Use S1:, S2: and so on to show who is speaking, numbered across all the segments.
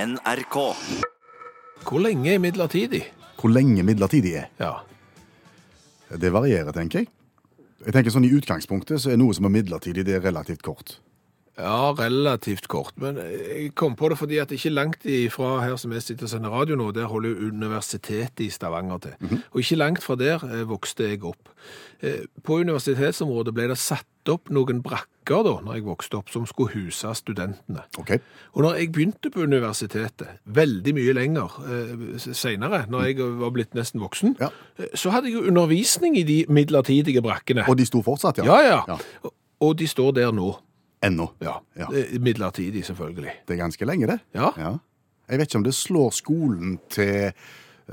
S1: NRK.
S2: Hvor lenge er midlertidig?
S3: Hvor lenge midlertidig er?
S2: Ja.
S3: Det varierer, tenker jeg. Jeg tenker sånn I utgangspunktet så er noe som er midlertidig, det er relativt kort.
S2: Ja, relativt kort. Men jeg kom på det fordi at ikke langt ifra her som jeg sitter og sender radio nå, der holder jo Universitetet i Stavanger til.
S3: Mhm.
S2: Og ikke langt fra der eh, vokste jeg opp. Eh, På universitetsområdet ble det satt opp noen brakker da, når jeg vokste opp, som skulle huse studentene.
S3: Ok?
S2: Og når jeg begynte på universitetet, veldig mye lenger eh, senere, når jeg var blitt nesten voksen,
S3: Ja.
S2: eh, så hadde jeg jo undervisning i de midlertidige brakkene.
S3: Og de sto fortsatt, ja?
S2: ja, ja. Og- Og de står der nå.
S3: Ennå.
S2: Ja.
S3: Ja.
S2: Eh, Midlertidig, selvfølgelig.
S3: Det er ganske lenge, det.
S2: Ja,
S3: Ja. Jeg vet ikke om det slår skolen til eh,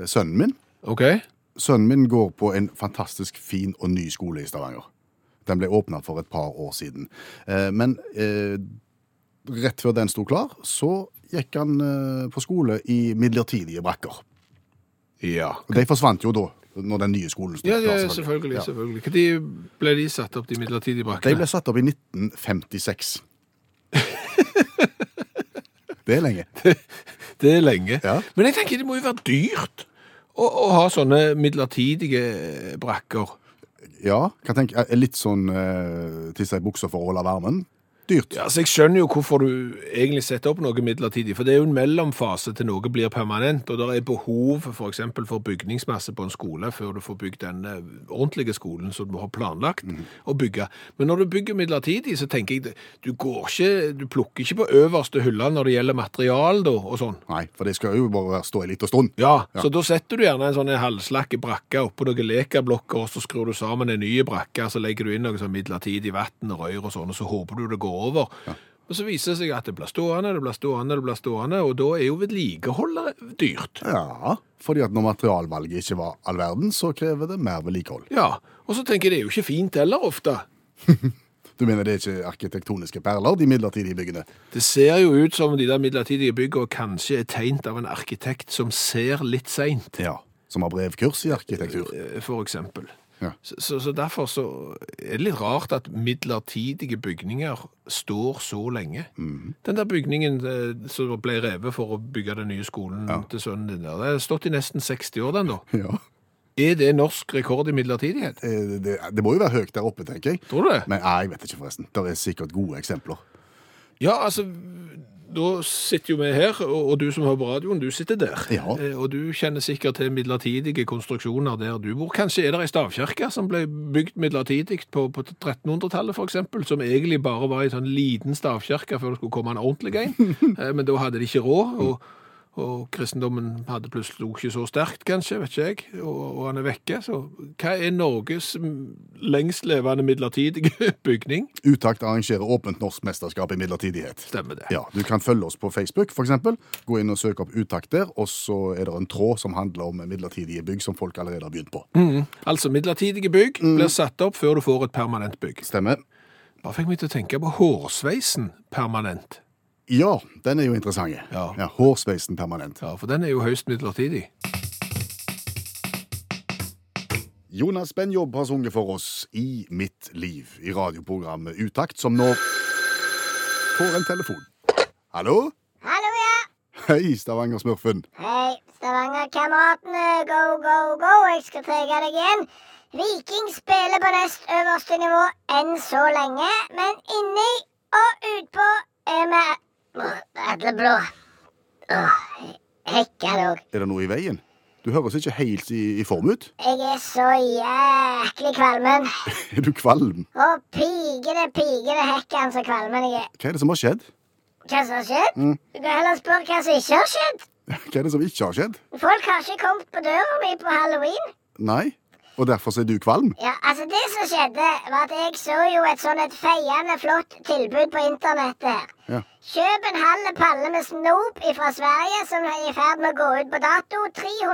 S3: sønnen min.
S2: ok.
S3: Sønnen min går på en fantastisk fin og ny skole i Stavanger. Den ble åpna for et par år siden. Eh, Men eh, rett før den sto klar, så gikk han eh, på skole i midlertidige brakker.
S2: Ja.
S3: Og De forsvant jo da, når den nye skolen sto
S2: Ja,
S3: klar.
S2: ja selvfølgelig.
S3: Ja.
S2: selvfølgelig. Når ble de satt opp, de midlertidige
S3: De
S2: brakkene?
S3: ble satt opp i 1956. Det er lenge.
S2: Det er lenge.
S3: Ja.
S2: Men jeg tenker det må jo være dyrt å, å ha sånne midlertidige eh, brakker.
S3: Ja, kan tenke, eh, litt sånn eh, tisse i buksa for å holde varmen. Dyrt.
S2: Ja, så Jeg skjønner jo hvorfor du egentlig setter opp noe midlertidig, for det er jo en mellomfase til noe blir permanent, og det er behov for eksempel for bygningsmasse på en skole før du får bygd den eh, ordentlige skolen som du har planlagt å bygge. Men når du bygger midlertidig, så tenker jeg, det- du går ikke, du plukker ikke på øverste hylla når det gjelder material da, og sånn.
S3: Nei, for det skal jo bare være stå en liten stund.
S2: Ja,
S3: Ja.
S2: så da setter du gjerne en sånn halvslakke brakke oppå noen lekablokker, og så skrur du sammen en ny brakke, så legger du inn noe sånn midlertidig vann og røyr og sånn, og så håper du det går over. Og så viser det seg at det blir stående, det blir stående, det blir stående, og da er jo vedlikeholdet dyrt.
S3: Ja, fordi at når materialvalget ikke var all verden, så krever det mer vedlikehold.
S2: Ja, og så tenker jeg det er jo ikke fint heller ofte.
S3: Du mener det er ikke arkitektoniske perler, de midlertidige byggene?
S2: Det ser jo ut som de der midlertidige byggene kanskje er tegnet av en arkitekt som ser litt seint,
S3: Ja. Som har brevkurs i arkitektur?
S2: eh, for eksempel.
S3: Ja.
S2: Så, så, så derfor så er det litt rart at midlertidige bygninger står så lenge. Den der bygningen eh, som ble revet for å bygge den nye skolen til sønnen din, der, den har stått i nesten 60 år den da.
S3: Ja.
S2: Er det norsk rekord i midlertidighet?
S3: Eh, Det, det må jo være høyt der oppe, tenker jeg.
S2: Tror du det?
S3: Men nei, jeg vet ikke, forresten. Det er sikkert gode eksempler.
S2: Ja, altså, da sitter jo vi her, og, og du som hører på radioen, du sitter der.
S3: Ja.
S2: Eh, Og du kjenner sikkert til midlertidige konstruksjoner der du bor. Kanskje er det ei stavkirke som ble bygd midlertidig på, på 1300-tallet, for eksempel, som egentlig bare var ei sånn liten stavkirke før det skulle komme en ordentlig en. Eh, Men da hadde de ikke råd. og og kristendommen hadde plutselig sto ikke så sterkt, kanskje, vet ikke jeg, og, og han er vekke. Så hva er Norges lengstlevende midlertidige bygning?
S3: Utakt arrangerer åpent norsk mesterskap i midlertidighet.
S2: Stemmer det.
S3: Ja, Du kan følge oss på Facebook, for eksempel. Gå inn og søk opp Utakt der, og så er det en tråd som handler om midlertidige bygg som folk allerede har begynt på.
S2: Altså, midlertidige bygg blir satt opp før du får et permanent bygg.
S3: Stemmer?
S2: Bare fikk meg til å tenke på hårsveisen permanent.
S3: Ja, den er jo interessant.
S2: Ja.
S3: hårsveisen permanent.
S2: Ja, for den er jo høyst midlertidig.
S3: Jonas Benjob har sunget for oss I mitt liv i radioprogrammet Utakt, som nå får en telefon. Hallo?
S4: Hallo, ja.
S3: Hei, Stavanger-smurfen.
S4: Hei, Stavanger-kameratene. Go, go, go. Jeg skal trege deg igjen. Viking spiller på nest øverste nivå enn så lenge, men inni og utpå er vi alle blå. Åh, Hekka dog.
S3: Er det noe i veien? Du høres ikke helt i, i form ut.
S4: Jeg er så jæklig kvalmen.
S3: Er du kvalm?
S4: Og pigene, pigene hekken så kvalmen jeg er.
S3: Hva er det som har skjedd?
S4: Hva som har skjedd?
S3: Mm.
S4: Du kan heller spørre hva som ikke har skjedd.
S3: Hva er det som ikke har skjedd?
S4: Folk har ikke kommet på døra mi på halloween.
S3: Nei. Og derfor er du kvalm?
S4: Ja, altså Det som skjedde, var at jeg så jo et sånn et feiende flott tilbud på internettet. her.
S3: Ja.
S4: Kjøp en halv palle med snop fra Sverige som er i ferd med å gå ut på dato.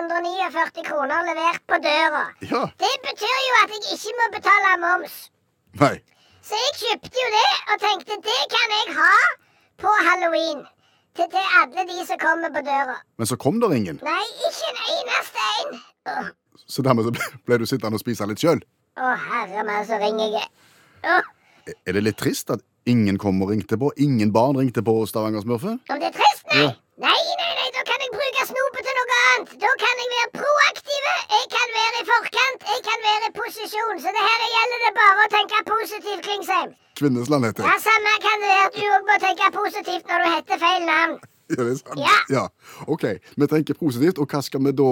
S4: 349 kroner levert på døra.
S3: Ja.
S4: Det betyr jo at jeg ikke må betale moms.
S3: Nei.
S4: Så jeg kjøpte jo det og tenkte det kan jeg ha på halloween. Til, til alle de som kommer på døra.
S3: Men så kom der ingen,
S4: Nei, ikke en eneste en. Åh,
S3: så dermed så ble, ble du sittende og spise litt sjøl.
S4: Å, herre meg, så ringer jeg. Åh.
S3: Er det litt trist at ingen kom og ringte på? Ingen barn ringte på Stavanger-smurfen?
S4: Om det er trist? Nei. Nei, nei, nei, da kan jeg bruke snopet til noe annet. Da kan jeg være proaktive, jeg kan være i forkant, jeg kan være i posisjon. Så det her gjelder det bare å tenke positivt, Klingsheim.
S3: Kvinnesland heter
S4: Ja,
S3: jeg.
S4: samme kan det være at du òg må tenke positivt når du heter feil navn.
S3: Ja, det er sant.
S4: Ja.
S3: Ja. OK, vi tenker positivt, og hva skal vi da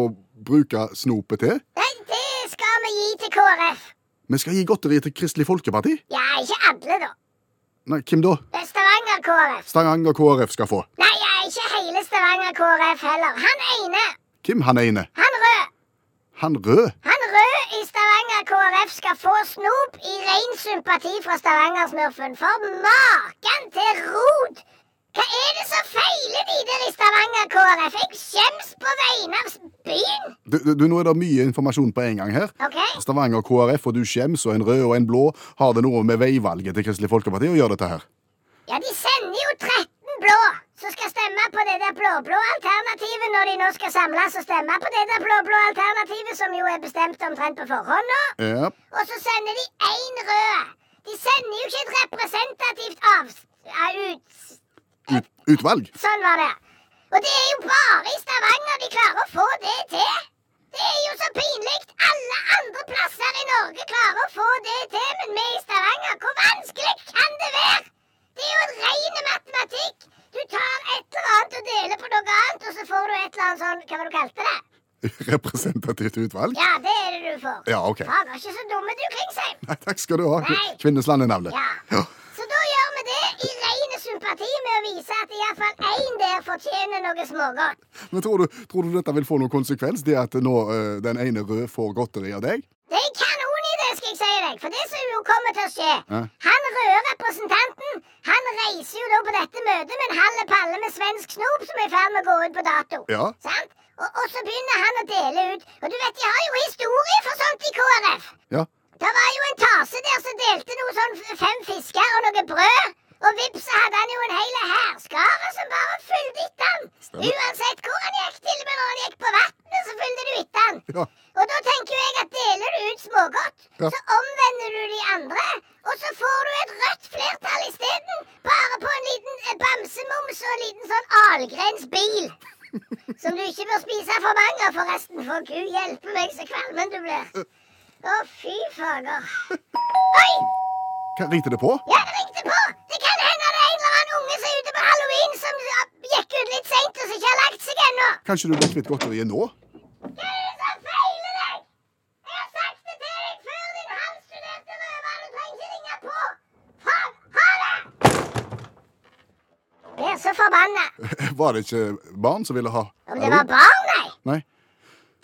S3: bruke snopet til?
S4: Nei, det skal vi gi til KrF.
S3: Vi skal gi godteri til Kristelig Folkeparti.
S4: Ja, ikke alle, da.
S3: Nei, hvem da?
S4: Det er Stavanger KrF.
S3: Stavanger KrF skal få.
S4: Nei, ja, ikke hele Stavanger KrF heller. Han ene,
S3: Hvem han ene?
S4: han rød.
S3: Han rød.
S4: Han rød i Stavanger KrF skal få snop i ren sympati fra Stavanger-smurfen. For maken til rot! Hva er det som feiler de der i Stavanger KrF? Jeg skjems på vegne av s- byen.
S3: Du, du, du, nå er det mye informasjon på en gang her.
S4: OK?
S3: Stavanger KrF og du skjems, og en rød og en blå. Har det noe med veivalget til Kristelig Folkeparti å gjøre, dette her?
S4: Ja, de sender jo 13 blå som skal stemme på det der blå-blå alternativet når de nå skal samles og stemme på det der blå-blå alternativet som jo er bestemt omtrent på forhånd nå.
S3: Ja.
S4: Og så sender de én rød. De sender jo ikke et representativt avs... ja, ut...
S3: Ut, utvalg?
S4: Sånn var det. Og det er jo bare i Stavanger de klarer å få det til. Det er jo så pinlig. Alle andre plasser i Norge klarer å få det til, men vi i Stavanger, hvor vanskelig kan det være? Det er jo en ren matematikk. Du tar et eller annet og deler på noe annet, og så får du et eller annet sånn Hva var det du kalte det?
S3: Representativt utvalg?
S4: Ja, det er det du får.
S3: Ja, OK.
S4: Faen, var ikke så dumme du, Klingsheim.
S3: Nei, takk skal du ha.
S4: Nei.
S3: Kvinnesland er navnet.
S4: Ja.
S3: Ja.
S4: Så da gjør vi det i rene sympati med å vise at iallfall én der fortjener noe smågodt.
S3: Men tror du, tror du dette vil få noen konsekvens, det at nå eh, den ene rød får godteri av deg?
S4: Det er kanon i det, skal jeg si deg, for det som jo kommer til å skje
S3: Ja.
S4: Han røde representanten han reiser jo da på dette møtet med en halv palle med svensk snop som er i ferd med å gå ut på dato.
S3: Ja.
S4: Sant? Og, og så begynner han å dele ut. Og du vet, de har jo historie for sånt i KrF.
S3: Ja.
S4: Det var jo en tase der som delte noe sånn f- fem fisker og noe brød. Og vips, så hadde han jo en hel hærskare som bare fulgte etter han.
S3: Stemmer.
S4: Uansett hvor han gikk, til og med når han gikk på vannet, så fulgte du etter han.
S3: Ja.
S4: Og da tenker jo jeg at deler du ut smågodt,
S3: Ja.
S4: så omvender du de andre, og så får du et rødt flertall isteden. Bare på en liten eh, bamsemums og en liten sånn algrensbil. Som du ikke bør spise for mange av, forresten. For gud hjelpe meg så kvalmen du blir.
S3: Eh,
S4: Å, fy fager. Oi!
S3: Hva ringte det på?
S4: Ja, det ringte på! Det kan hende det er en eller annen unge som er ute på halloween, som ja, gikk ut litt seint og som ikke har lagt seg ennå.
S3: Kanskje du blir kvitt godteriet nå?
S4: Hva er det som feiler deg? Jeg har sagt det til deg før, din halvstuderte røver. Du trenger ikke ringe på. Faen! Ha det! Blir så forbanna.
S3: Var det ikke barn som ville ha
S4: Om det var barn, nei.
S3: Nei.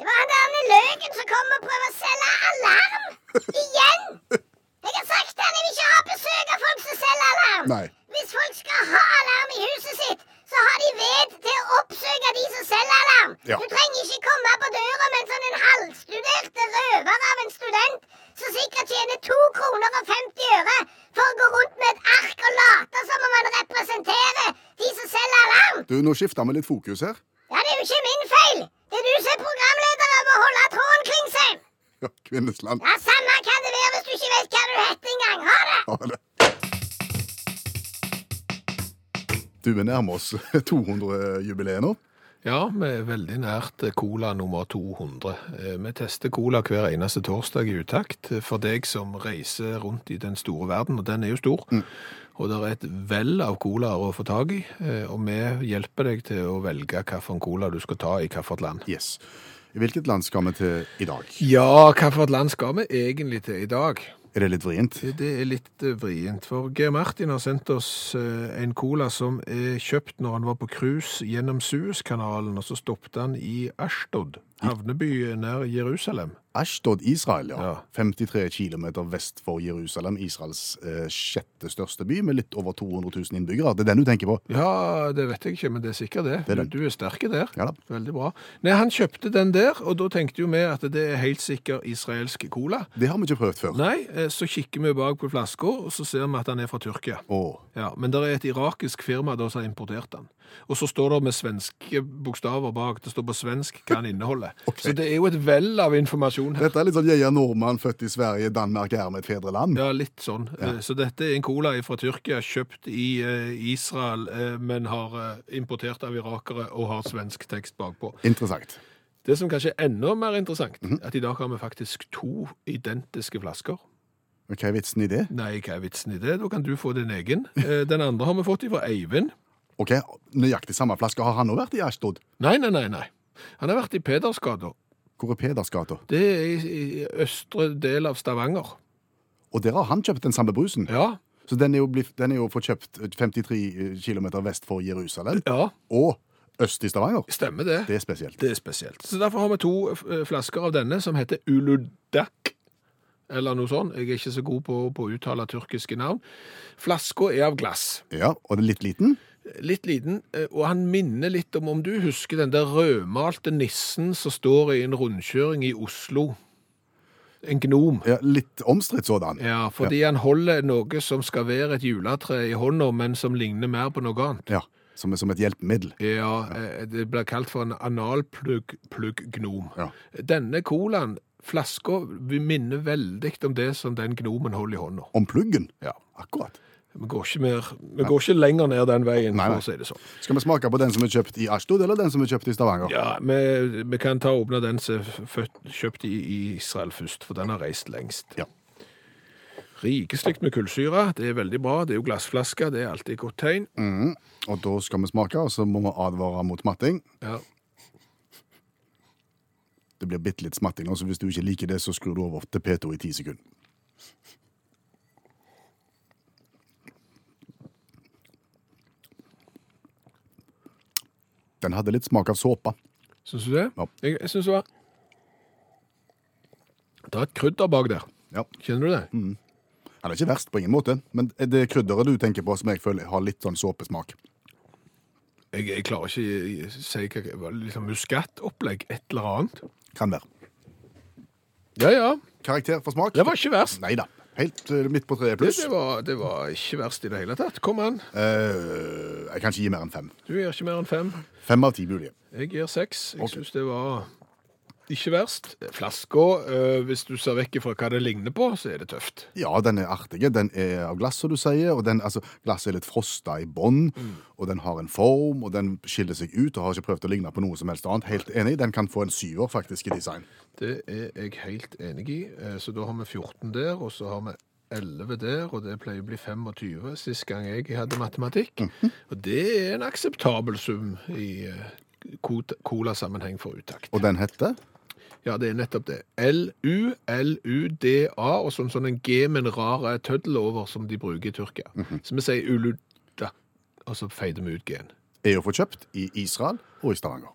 S4: Det var han derne løken som kom og prøvde å selge alarm! Igjen! Jeg har sagt han, jeg vil ikke ha besøk av folk som selger alarm!
S3: Nei.
S4: Hvis folk skal ha alarm i huset sitt, så har de ved til å oppsøke de som selger alarm!
S3: Ja.
S4: Du trenger ikke komme på døra med en sånn en halvstudert røver av en student som sikkert tjener to kroner og 50 øre for å gå rundt med et ark og late som om han representerer de som selger alarm!
S3: Du, nå skifter vi litt fokus her.
S4: Ja, det er jo ikke min feil! Det er du som er programleder og må holde tråden kring seg!
S3: Ja, Kvinnesland.
S4: Ja, Samme kan det være hvis du ikke vet hva du heter engang. Ha det!
S3: Ha det. Du, vi nærmer oss 200-jubileet nå.
S2: Ja, vi er veldig nært eh, cola nummer 200. Eh, Vi tester cola hver eneste torsdag i utakt eh, for deg som reiser rundt i den store verden, og den er jo stor. Og det er et vell av colaer å få tak i, eh, og vi hjelper deg til å velge hvilken cola du skal ta i hvilket land.
S3: Yes. I hvilket land skal vi til i dag?
S2: Ja, hvilket land skal vi egentlig til i dag?
S3: Er det litt vrient?
S2: Det det er litt eh, vrient, for Geir Martin har sendt oss eh, en cola som er kjøpt når han var på cruise gjennom Suezkanalen, og så stoppet han i Ashdod, havneby nær Jerusalem.
S3: Ashdod, Israel, ja.
S2: Ja.
S3: 53 km vest for Jerusalem, Israels eh, sjette største by, med litt over 200 000 innbyggere. Det er den du tenker på?
S2: Ja, det vet jeg ikke, men det er sikkert det.
S3: Det er den.
S2: Du, du er sterke der.
S3: Ja da.
S2: Veldig bra. Nei, han kjøpte den der, og da tenkte jo vi at det er helt sikker israelsk cola.
S3: Det har vi ikke prøvd før.
S2: Nei, eh, så kikker vi bak på flasker, og så ser vi at han er fra Tyrkia.
S3: Åh,
S2: Ja, men det er et irakisk firma da som har importert den. Og så står det med svenske bokstaver bak. Det står på svensk hva den inneholder.
S3: Ok.
S2: Så det er jo et vell av informasjon her.
S3: Dette er litt sånn jeg er nordmann, født i Sverige, Danmark er mitt fedreland.
S2: Ja, litt sånn. Eh, Så dette er en cola fra Tyrkia, kjøpt i eh, Israel, eh, men har eh, importert av irakere og har svensk tekst bakpå.
S3: Interessant.
S2: Det som kanskje er enda mer interessant, at i dag har vi faktisk to identiske flasker.
S3: Men Hva er vitsen i det?
S2: Nei, hva er vitsen i det? Da kan du få din egen. Eh, Den andre har vi fått fra Eivind.
S3: Ok, Nøyaktig samme flaske har han òg vært i Ashtod.
S2: Nei, nei, nei, nei. Han har vært i Pedersgata.
S3: Hvor er Pedersgata?
S2: Det er i, i østre del av Stavanger.
S3: Og der har han kjøpt den samme brusen.
S2: Ja,
S3: Så den er jo, blitt, den er jo fått kjøpt 53 km vest for Jerusalem,
S2: ja,
S3: og øst i Stavanger.
S2: stemmer det.
S3: Det er spesielt.
S2: Det er spesielt. Så derfor har vi to eh, flasker av denne som heter Uludak. Eller noe sånt. Jeg er ikke så god på, på å uttale tyrkiske navn. Flaska er av glass.
S3: Ja, Og den er litt liten.
S2: Litt liten, eh, og han minner litt om om du husker den der rødmalte nissen som står i en rundkjøring i Oslo. En gnom.
S3: Ja, litt omstridt sådan.
S2: Ja, fordi han holder noe som skal være et juletre i hånda, men som ligner mer på noe annet.
S3: Ja, som, som et hjelpemiddel.
S2: Ja, eh, det blir kalt for en analplugg-gnom.
S3: Ja.
S2: Denne colaen, flaska, vi minner veldig om det som den gnomen holder i hånda.
S3: Om pluggen.
S2: Ja.
S3: Akkurat.
S2: Vi går ikke, mer, vi går ikke lenger ned den veien,
S3: Nei, nei.
S2: for å si det sånn.
S3: Skal vi smake på den som er kjøpt i Ashtod, eller den som er kjøpt i Stavanger?
S2: Ja, vi, vi kan ta og åpne den som er født, kjøpt i, i Israel først, for den har reist lengst.
S3: Ja.
S2: Rikeslikt med kullsyre, det er veldig bra. Det er jo glassflaske, det er alltid et godt tegn.
S3: Mhm. Og da skal vi smake, og så må vi advare mot matting.
S2: Ja.
S3: Det blir bitte litt smatting nå, så hvis du ikke liker det, så skrur du over til P2 i ti sekunder. Den hadde litt smak av såpe.
S2: Syns du det?
S3: Ja.
S2: Jeg, jeg syns det var Det er et krydder bak der.
S3: Ja.
S2: Kjenner du det?
S3: Den er ikke verst på ingen måte, men det krydderet du tenker på, som jeg føler har litt sånn såpesmak.
S2: Jeg, jeg klarer ikke å si hva det var. Liksom muskattopplegg, et eller annet.
S3: Kan være.
S2: Ja, ja.
S3: Karakter for smak?
S2: Det var ikke verst.
S3: Nei da. Helt eh, midt på treet
S2: Det,
S3: pluss.
S2: det, var, det var ikke verst i det hele tatt. Kom an.
S3: Eh, jeg kan ikke gi mer enn fem.
S2: Du gir ikke mer enn fem.
S3: Fem av ti mulige.
S2: Jeg gir seks. Jeg
S3: Ok.
S2: synes syns det var ikke verst. Flaska, eh, hvis du ser vekk fra hva det ligner på, så er det tøft.
S3: Ja, den er artig. Den er av glass, som du sier. og den, altså, Glasset er litt frosta i bånn, og den har en form, og den skiller seg ut. og Har ikke prøvd å ligne på noe som helst annet. Helt enig, den kan få en syver faktisk i design.
S2: Det er jeg helt enig i. Eh, Så da har vi 14 der, og så har vi 11 der, og det pleier å bli 25 sist gang jeg hadde matematikk. Og det er en akseptabel sum i eh, kot- cola-sammenheng for utakt.
S3: Og den heter
S2: Ja, det er nettopp det. L-U-L-U-D-A, og sånn, sånn en G med en rar tøddel over som de bruker i Tyrkia. Så vi sier uluda, og så feider vi ut G-en.
S3: er å få kjøpt i Israel og i Stavanger.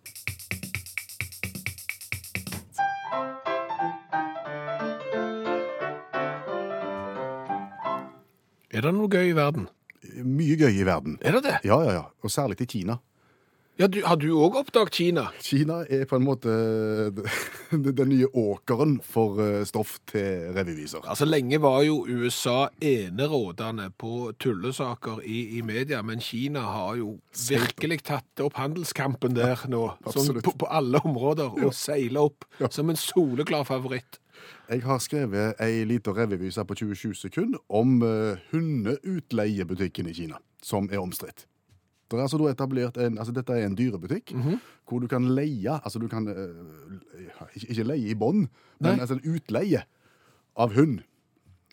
S2: Er det noe gøy i verden?
S3: Mye gøy i verden.
S2: Er det det?
S3: Ja, ja, ja. Og særlig i Kina.
S2: Ja, du, har du òg oppdaget Kina?
S3: Kina er på en måte den nye åkeren for eh, stoff til revyviser.
S2: Altså, Lenge var jo USA enerådende på tullesaker i, i media, men Kina har jo virkelig tatt opp handelskampen der nå. Sånn
S3: absolutt.
S2: på, på alle områder, og seiler opp som en soleklar favoritt.
S3: Jeg har skrevet ei lita revyvise på 27 sekunder om eh, hundeutleiebutikken i Kina, som er omstridt. Det er altså da etablert en, altså Dette er en dyrebutikk
S2: Mhm.
S3: hvor du kan leie altså du kan, eh, ikke- Ikke leie i bånd, men
S2: Nei.
S3: altså en utleie av hund.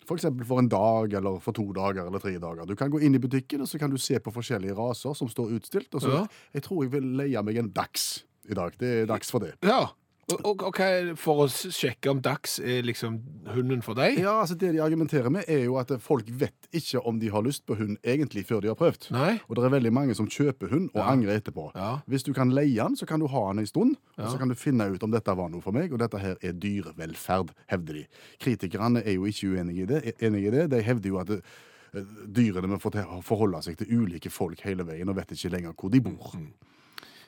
S3: For eksempel for en dag, eller for to dager, eller tre dager. Du kan gå inn i butikken, og så kan du se på forskjellige raser som står utstilt. Og så,
S2: Ja.
S3: Jeg tror jeg vil leie meg en dags i dag. Det er dags for det.
S2: Ja. Og, og, og hva er- For å s- sjekke om Dax er liksom hunden for deg?
S3: Ja, altså Det de argumenterer med, er jo at folk vet ikke om de har lyst på hund egentlig før de har prøvd.
S2: Nei?
S3: Og det er veldig mange som kjøper hund og angrer etterpå.
S2: Ja.
S3: Hvis du kan leie den, så kan du ha den en stund, og så kan du finne ut om dette var noe for meg, og dette her er dyrevelferd, hevder de. Kritikerne er jo ikke uenige i det. e, Enige i det. De hevder jo at eh, dyrene må forte- forholde seg til ulike folk hele veien, og vet ikke lenger hvor de bor.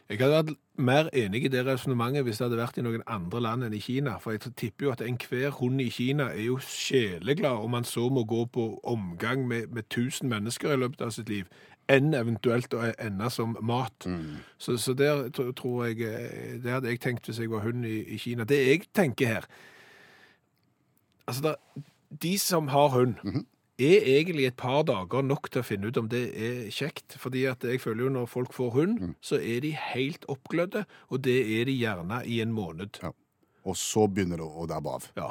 S2: Jeg hadde vært mer enig i det resonnementet hvis det hadde vært i noen andre land enn i Kina. For jeg tipper jo at enhver hund i Kina er jo sjeleglad om han så må gå på omgang med, med 1000 mennesker i løpet av sitt liv, enn eventuelt å ende som mat. Så, så der tro- tror jeg eh, Det hadde jeg tenkt hvis jeg var hund i, i Kina. Det jeg tenker her Altså, der, de som har hund
S3: Mhm.
S2: er egentlig et par dager nok til å finne ut om det er kjekt. Fordi at jeg føler jo når folk får hund,
S3: Mm.
S2: så er de helt oppglødde, og det er de gjerne i en måned.
S3: Ja. Og så begynner det å dabbe av.
S2: Ja.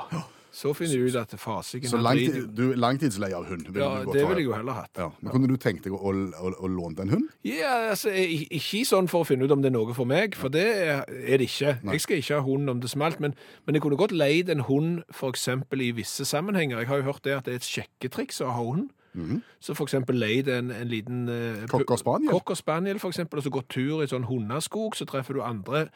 S2: Så finner du ut at fasiken
S3: Så
S2: han
S3: langtid,
S2: driter-
S3: du, langtidsleie av hund ville
S2: Ja,
S3: du godt
S2: det
S3: ha.
S2: ville jeg jo heller hatt.
S3: Ja. Men kunne du tenkt deg å, å, å, å låne en hund?
S2: Ja, altså, jeg- Ikke sånn for å finne ut om det er noe for meg, for det er er det ikke. Jeg skal ikke ha hund om det smalt, men, men jeg kunne godt leid en hund f.eks. i visse sammenhenger. Jeg har jo hørt det at det er et sjekketriks å ha hund. Så for eksempel leid en, en liten eh, pu-
S3: Mhm. Cocker spaniel?
S2: Cocker spaniel, for eksempel, og så gått tur i sånn hundeskog, så treffer du andre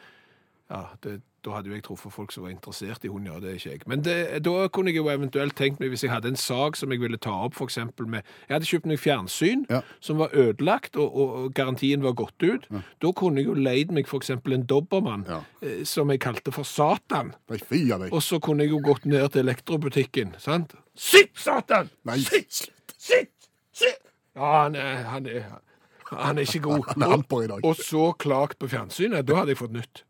S2: Ja, det, da hadde jo jeg truffet folk som var interessert i hund, ja, det er ikke jeg. Men det, da kunne jeg jo eventuelt tenkt meg, hvis jeg hadde en sak som jeg ville ta opp, for eksempel med Jeg hadde kjøpt meg fjernsyn
S3: Ja.
S2: som var ødelagt, og, og, og garantien var gått ut. Da kunne jeg jo leid meg for eksempel en dobbermann,
S3: Ja.
S2: eh, som jeg kalte for Satan.
S3: Nei, fy av deg.
S2: Og så kunne jeg jo gått ned til elektrobutikken, sant? Sitt, Satan!
S3: Nei, slutt.
S2: Sitt! Sitt! Ja, han er, han er, han er ikke god.
S3: Han er halvpå i dag.
S2: Og så klagt på fjernsynet. Da hadde jeg fått nytt.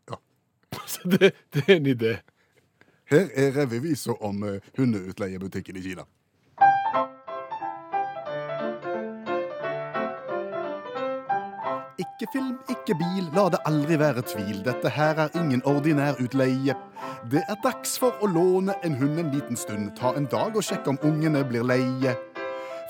S2: Så det, det er en idé.
S3: Her er revyvisa om eh, hundeutleiebutikken i Kina. Ikke film, ikke bil, la det aldri være tvil. Dette her er ingen ordinær utleie. Det er dags for å låne en hund en liten stund. Ta en dag og sjekk om ungene blir leie.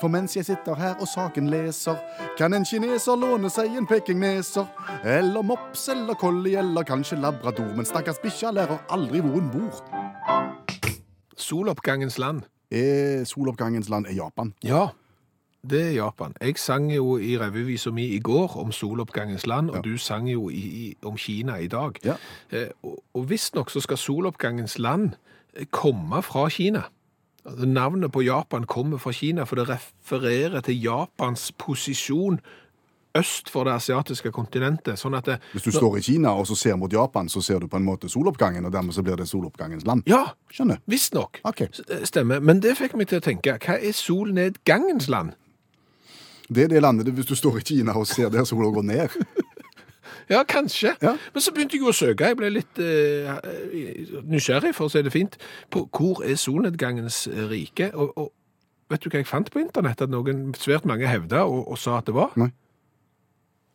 S3: For mens jeg sitter her og saken leser, kan en kineser låne seg en pekingneser. Eller mops eller collie eller kanskje labrador. Men stakkars bikkja lærer aldri hvor hun bor.
S2: Soloppgangens land.
S3: Er Eh, soloppgangens land er Japan.
S2: Ja, det er Japan. Jeg sang jo i revyvisa mi i går om soloppgangens land, og du sang jo i, i, om Kina i dag.
S3: Ja.
S2: Eh, og og visstnok så skal soloppgangens land eh, komme fra Kina. Altså, Navnet på Japan kommer fra Kina, for det refererer til Japans posisjon øst for det asiatiske kontinentet. Sånn at det,
S3: Hvis du står i Kina og så ser mot Japan, så ser du på en måte soloppgangen, og dermed så blir det soloppgangens land.
S2: Ja,
S3: Skjønner?
S2: visstnok.
S3: Ok.
S2: S- eh, Stemmer. Men det fikk meg til å tenke, hva er solnedgangens land?
S3: Det er det landet det- hvis du står i Kina og ser der sola går ned.
S2: Ja, kanskje.
S3: Ja.
S2: Men så begynte jeg jo å søke. Jeg ble litt eh, nysgjerrig, for å si det fint, på hvor er solnedgangens rike? Og, og vet du hva jeg fant på internett at noen svært mange hevda og, og sa at det var?
S3: Nei.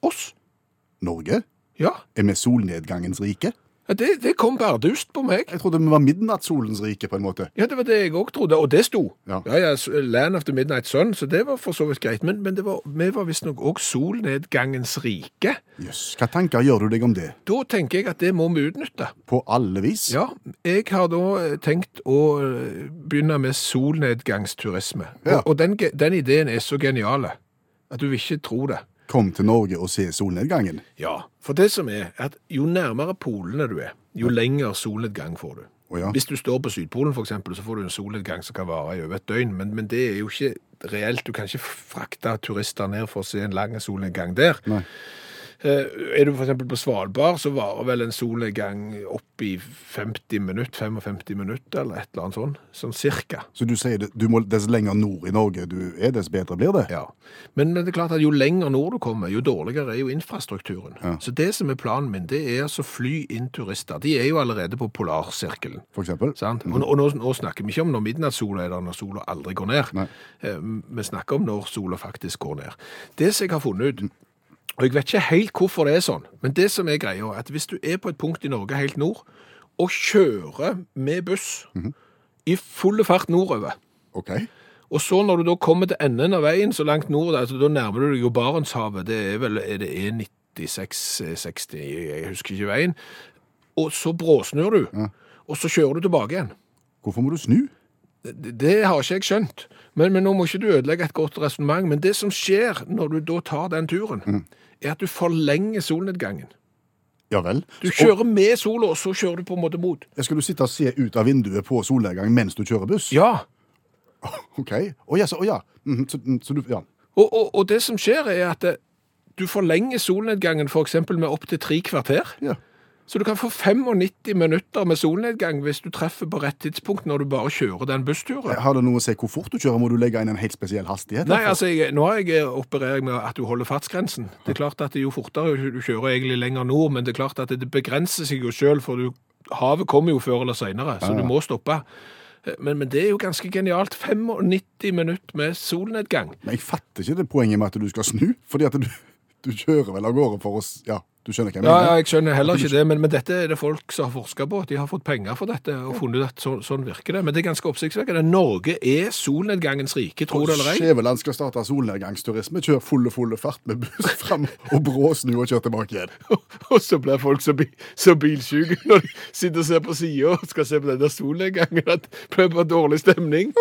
S2: Oss.
S3: Norge
S2: Ja.
S3: er med solnedgangens rike.
S2: Ja, Det, det kom bardust på meg.
S3: Jeg trodde vi var midnattssolens rike, på en måte.
S2: Ja, det var det jeg òg trodde, og det sto.
S3: Ja.
S2: ja, s- Land of the Midnight Sun, så det var for så vidt greit. Men, men det var, vi var visstnok òg solnedgangens rike.
S3: Jøss, hva tanker gjør du deg om det?
S2: Da tenker jeg at det må vi utnytte.
S3: På alle vis?
S2: Ja, jeg har da eh, tenkt å eh, begynne med solnedgangsturisme.
S3: Ja.
S2: Og, og den, ge- den ideen er så genial at du vil ikke tro det.
S3: Kom til Norge og se solnedgangen.
S2: Ja, for det som er at jo nærmere polene du er, jo lenger solnedgang får du.
S3: Å ja.
S2: Hvis du står på Sydpolen for eksempel, så får du en solnedgang som kan vare i over et døgn, men, men det er jo ikke reelt. Du kan ikke frakte turister ned for å se en lang solnedgang der.
S3: Nei.
S2: Eh, Er du for eksempel på Svalbard, så varer vel en solnedgang opp i 50 minutter, 55 minutter, eller et eller annet sånt, sånn cirka.
S3: Så du sier det, du må, dess lenger nord i Norge du er, dess bedre blir det?
S2: Ja. Men, men det er klart at jo lenger nord du kommer, jo dårligere er jo infrastrukturen. Så det som er planen min, det er altså å fly inn turister. De er jo allerede på polarsirkelen.
S3: For eksempel?
S2: Sant? Og, og nå, nå snakker vi ikke om når midnattssola er der, når sola aldri går ned.
S3: Nei.
S2: Eh, Vi snakker om når sola faktisk går ned. Det som jeg har funnet ut, og jeg vet ikke helt hvorfor det er sånn, men det som er greia, er at hvis du er på et punkt i Norge helt nord, og kjører med buss i full fart nordover,
S3: Ok.
S2: og så når du da kommer til enden av veien, så langt nord, altså, da nærmer du deg jo Barentshavet, det er vel er det E96, 60, jeg husker ikke veien, og så bråsnur du, og så kjører du tilbake igjen.
S3: Hvorfor må du snu?
S2: Det det har ikke jeg skjønt. Men, men nå må ikke du ødelegge et godt resonnement. Men det som skjer når du da tar den turen, er at du forlenger solnedgangen.
S3: Ja vel.
S2: Du kjører med sola, og så kjører du på en måte mot.
S3: Og skal du sitte og se ut av vinduet på solnedgang mens du kjører buss?
S2: Ja,
S3: Ok. Å ja, så, å, ja. Mhm, så, mm, så du Ja.
S2: og, og, og det som skjer er at eh, du forlenger solnedgangen for eksempel med opp til tre kvarter.
S3: ja.
S2: Så du kan få 95 minutter med solnedgang hvis du treffer på rett tidspunkt når du bare kjører den bussturen.
S3: Har det noe å si hvor fort du kjører? Må du legge inn en helt spesiell hastighet?
S2: Nei,
S3: derfor?
S2: altså, jeg, Nå har jeg opererer jeg med at du holder fartsgrensen. Det er klart at Jo fortere du kjører egentlig lenger nord, men det er klart at det begrenser seg jo sjøl, for du, havet kommer jo før eller seinere, så du må stoppe. Eh, Men, men det er jo ganske genialt. 95 minutter med solnedgang.
S3: Men jeg fatter ikke det poenget med at du skal snu, fordi at du, du kjører vel av gårde for oss Ja, du skjønner hva jeg
S2: Ja,
S3: mener?
S2: ja, jeg skjønner heller ikke det, men, men dette er det folk som har forska på. De har fått penger for dette og funnet ut at så, sånn virker det. Men det er ganske oppsiktsvekkende. Norge er solnedgangens rike, tro det eller ei.
S3: Skjæveland skal starte solnedgangsturisme, kjøre fulle, fulle fart med buss fram og brå snu og kjøre tilbake igjen.
S2: Og så blir folk så, bi, så bilsjuke når de sitter og ser på sida og skal se på denne solnedgangen, at det blir bare dårlig stemning.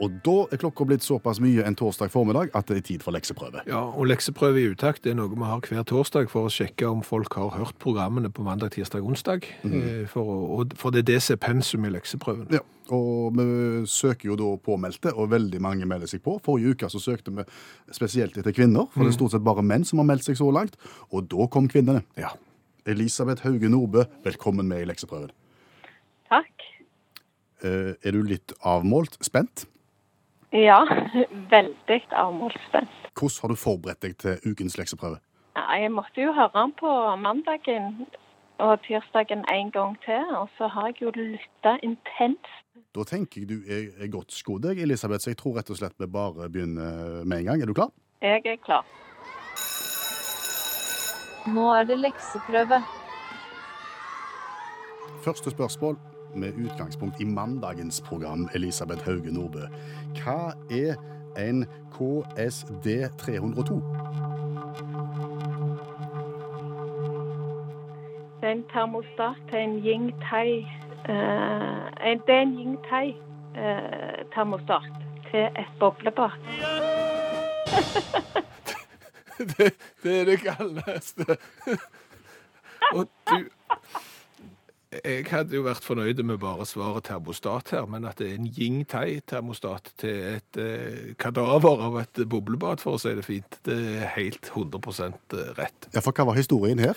S3: Og da er klokka blitt såpass mye en torsdag formiddag at det er tid for lekseprøve.
S2: Ja, og lekseprøve i utakt er noe vi har hver torsdag for å sjekke om folk har hørt programmene på mandag, tirsdag, onsdag. eh, For, å- og- for det er det som er pensum i lekseprøven.
S3: Ja, og vi søker jo da påmeldte, og veldig mange melder seg på. Forrige uke så søkte vi spesielt etter kvinner, for det er stort sett bare menn som har meldt seg så langt. Og da kom kvinnene.
S2: Ja.
S3: Elisabeth Hauge Nordbø, velkommen med i lekseprøven.
S1: Takk.
S3: Eh, er du litt avmålt? Spent?
S1: Ja, veldig avmålsspent.
S3: Hvordan har du forberedt deg til ukens lekseprøve?
S1: Nei, Jeg måtte jo høre den på mandagen og tirsdagen en gang til, og så har jeg jo lytta intenst.
S3: Da tenker jeg du er, er godt skodd, jeg, Elisabeth, så jeg tror rett og slett vi bare begynner med en gang. Er du klar?
S1: Jeg er klar.
S5: Nå er det lekseprøve.
S3: Første spørsmål med utgangspunkt i mandagens program, Elisabeth Hauge Nordbø. Hva er en KSD 302?
S1: Det er en termostat til en yin tai eh, en- Det er en yin tai eh, termostat til et boblebad.
S2: Det, det er det kaldeste. Og du Jeg hadde jo vært fornøyd med bare svaret termostat her, men at det er en yin-tai-termostat til et eh, kadaver av et boblebad, for å si det fint, det er helt 100 rett.
S3: Ja, for hva var historien her?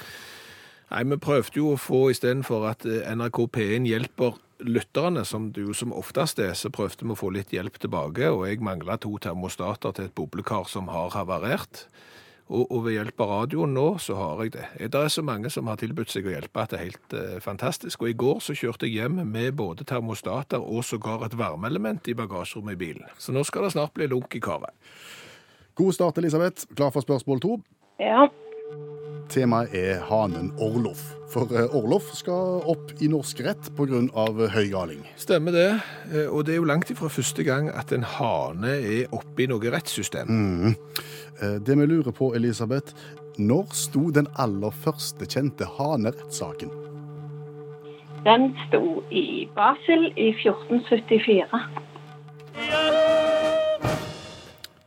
S2: Nei, vi prøvde jo å få istedenfor at eh, NRK P1 hjelper lytterne, som det jo som oftest er, så prøvde vi å få litt hjelp tilbake, og jeg mangla to termostater til et boblekar som har havarert. Og, og ved hjelp av radioen nå, så har jeg det. Eh, Det er så mange som har tilbudt seg å hjelpe at det er helt eh, fantastisk. Og i går så kjørte jeg hjem med både termostater og sågar et varmeelement i bagasjerommet i bilen. Så nå skal det snart bli lunk i karet.
S3: God start, Elisabeth. Klar for spørsmål to?
S1: Ja.
S3: Temaet er hanen Orlof. For eh, Orlof skal opp i norsk rett pga. høy galing.
S2: Stemmer det. Eh, Og det er jo langt ifra første gang at en hane er oppe i noe rettssystem.
S3: Eh, Det vi lurer på, Elisabeth, når sto den aller første kjente hanerettssaken?
S1: Den sto i Basel i 1474.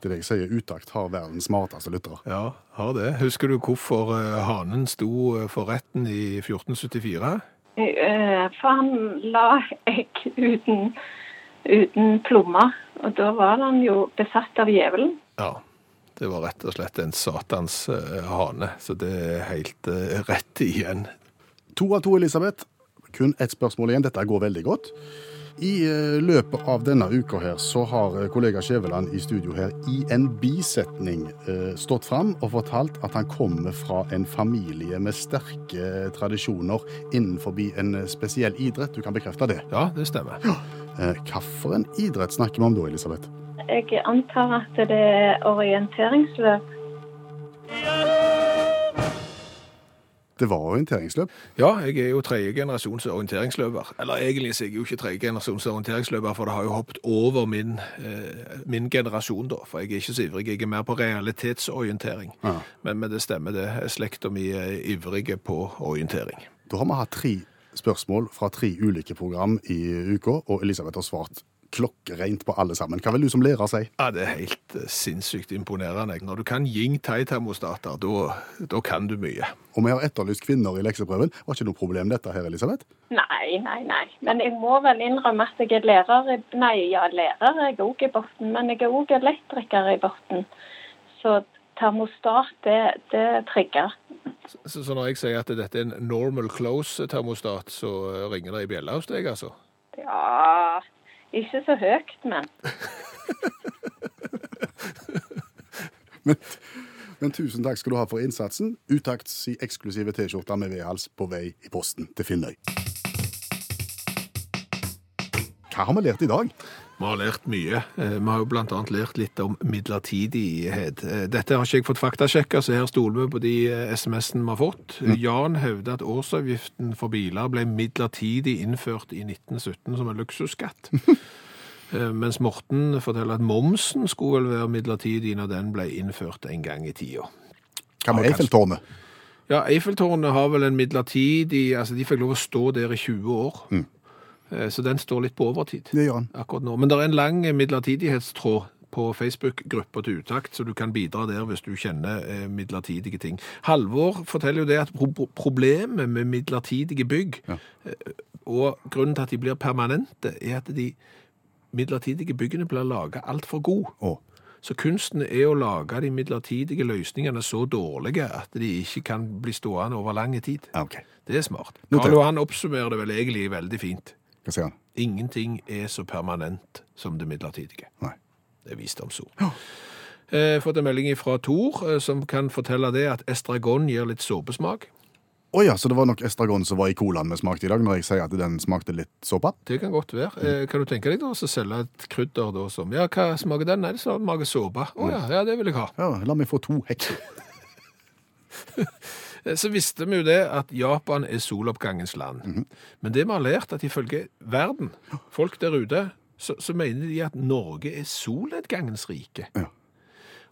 S3: Det er det jeg sier, utakt har verdens smarteste lyttere.
S2: Ja, har det. Husker du hvorfor eh, hanen sto eh, for retten i 1474?
S1: Eh, For han la egg uten, uten plommer, og da var han jo besatt av djevelen.
S2: Ja. Det var rett og slett en satans eh, hane, så det er helt eh, rett igjen.
S3: To av to, Elisabeth. Kun ett spørsmål igjen. Dette går veldig godt. I eh, løpet av denne uka her så har eh, kollega Skjæveland i studio her i en bisetning eh, stått fram og fortalt at han kommer fra en familie med sterke tradisjoner innenfor en eh, spesiell idrett. Du kan bekrefte det.
S2: Ja, det stemmer.
S3: Eh, Hvilken idrett snakker vi om da, Elisabeth?
S1: Jeg antar at det er orienteringsløp.
S3: Det var orienteringsløp.
S2: Ja, jeg er jo tredje generasjons orienteringsløper. Eller egentlig så er jeg jo ikke tredje generasjons orienteringsløper, for det har jo hoppet over min, eh, min generasjon, da. For jeg er ikke så ivrig. Jeg er mer på realitetsorientering.
S3: Ja.
S2: Men, men det stemmer, det. Slekta mi er ivrige på orientering.
S3: Da har vi hatt tre spørsmål fra tre ulike program i uka, og Elisabeth har svart klokkereint på alle sammen. Hva vil du som lærer si?
S2: Ja, Det er helt eh, sinnssykt imponerende. Når du kan yin tai-termostater, da, da kan du mye.
S3: Og vi har etterlyst kvinner i lekseprøven. Var ikke noe problem dette her, Elisabeth?
S1: Nei, nei, nei. Men jeg må vel innrømme at jeg er lærer i- Nei, ja, lærer er jeg òg i Borten, men jeg er òg elektriker i Borten. Så termostat, det, det trigger.
S2: Så, så når jeg sier at dette er en normal close-termostat, så eh, ringer det i bjella hos deg, altså?
S1: Ja Ikke så høyt, men.
S3: Men, men tusen takk skal du ha for innsatsen. Utakts i eksklusive T-skjorter med V-hals på vei i posten til Finnøy. Hva har vi lært i dag?
S2: Vi har lært mye. Eh, Vi har jo blant annet lært litt om midlertidighet. Eh, Dette har ikke jeg fått faktasjekka, så her stoler vi på de eh, SMS-ene vi har fått. Jan hevder at årsavgiften for biler ble midlertidig innført i 1917 som en luksusskatt. Eh, Mens Morten forteller at momsen skulle vel være midlertidig når den ble innført en gang i tida.
S3: Hva med
S2: Ja, kanskje.
S3: Eiffeltårnet?
S2: Ja, Eiffeltårnet har vel en midlertidig Altså, de fikk lov å stå der i 20 år. Eh, Så den står litt på overtid
S3: Det gjør han.
S2: akkurat nå. Men det er en lang midlertidighetstråd på Facebook-gruppa til Utakt, så du kan bidra der hvis du kjenner eh, midlertidige ting. Halvor forteller jo det at pro pro- problemet med midlertidige bygg, eh, og grunnen til at de blir permanente, er at de midlertidige byggene blir laget altfor gode.
S3: Å.
S2: Så kunsten er å lage de midlertidige løsningene så dårlige at de ikke kan bli stående over lang tid.
S3: Ja, ok.
S2: Det er smart.
S3: Notert.
S2: Karl Johan oppsummerer det vel egentlig veldig fint.
S3: Hva sier han?
S2: Ingenting er så permanent som det midlertidige.
S3: Nei.
S2: Det er visdomsord. Eh, fått en melding fra Tor, eh, som kan fortelle det at estragon gir litt såpesmak.
S3: Å ja, så det var nok estragon som var i colaen vi smakte i dag, når jeg sier at den smakte litt såpe?
S2: Det kan godt være. Eh, kan du tenke deg da å selge et krydder da som Ja, hva smaker den? Nei, det smaker såpe. Å ja, ja, det vil jeg ha.
S3: Ja, la meg få to hekk.
S2: Eh, Så visste vi jo det at Japan er soloppgangens land.
S3: Mhm.
S2: Men det vi har lært, at ifølge verden, folk der ute, så, så mener de at Norge er solnedgangens rike.
S3: Ja.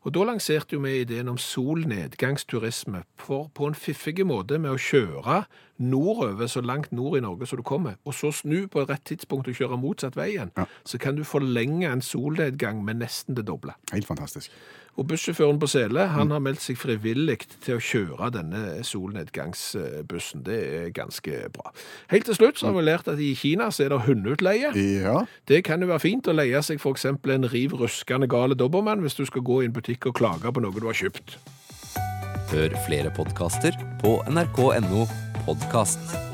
S2: Og da lanserte jo vi ideen om solnedgangsturisme for på en fiffig måte med å kjøre nordover så langt nord i Norge som du kommer, og så snu på et rett tidspunkt og kjøre motsatt vei igjen,
S3: Ja.
S2: så kan du forlenge en solnedgang med nesten det doble.
S3: Helt fantastisk.
S2: Og bussjåføren på Sele han har meldt seg frivillig til å kjøre denne solnedgangsbussen. Det er ganske bra. Helt til slutt så har vi lært at i Kina så er det hundeutleie.
S3: Ja,
S2: Det kan jo være fint å leie seg f.eks. en riv ruskende gale dobbermann hvis du skal gå i en butikk og klage på noe du har kjøpt.
S6: Hør flere podkaster på nrk.no podkast.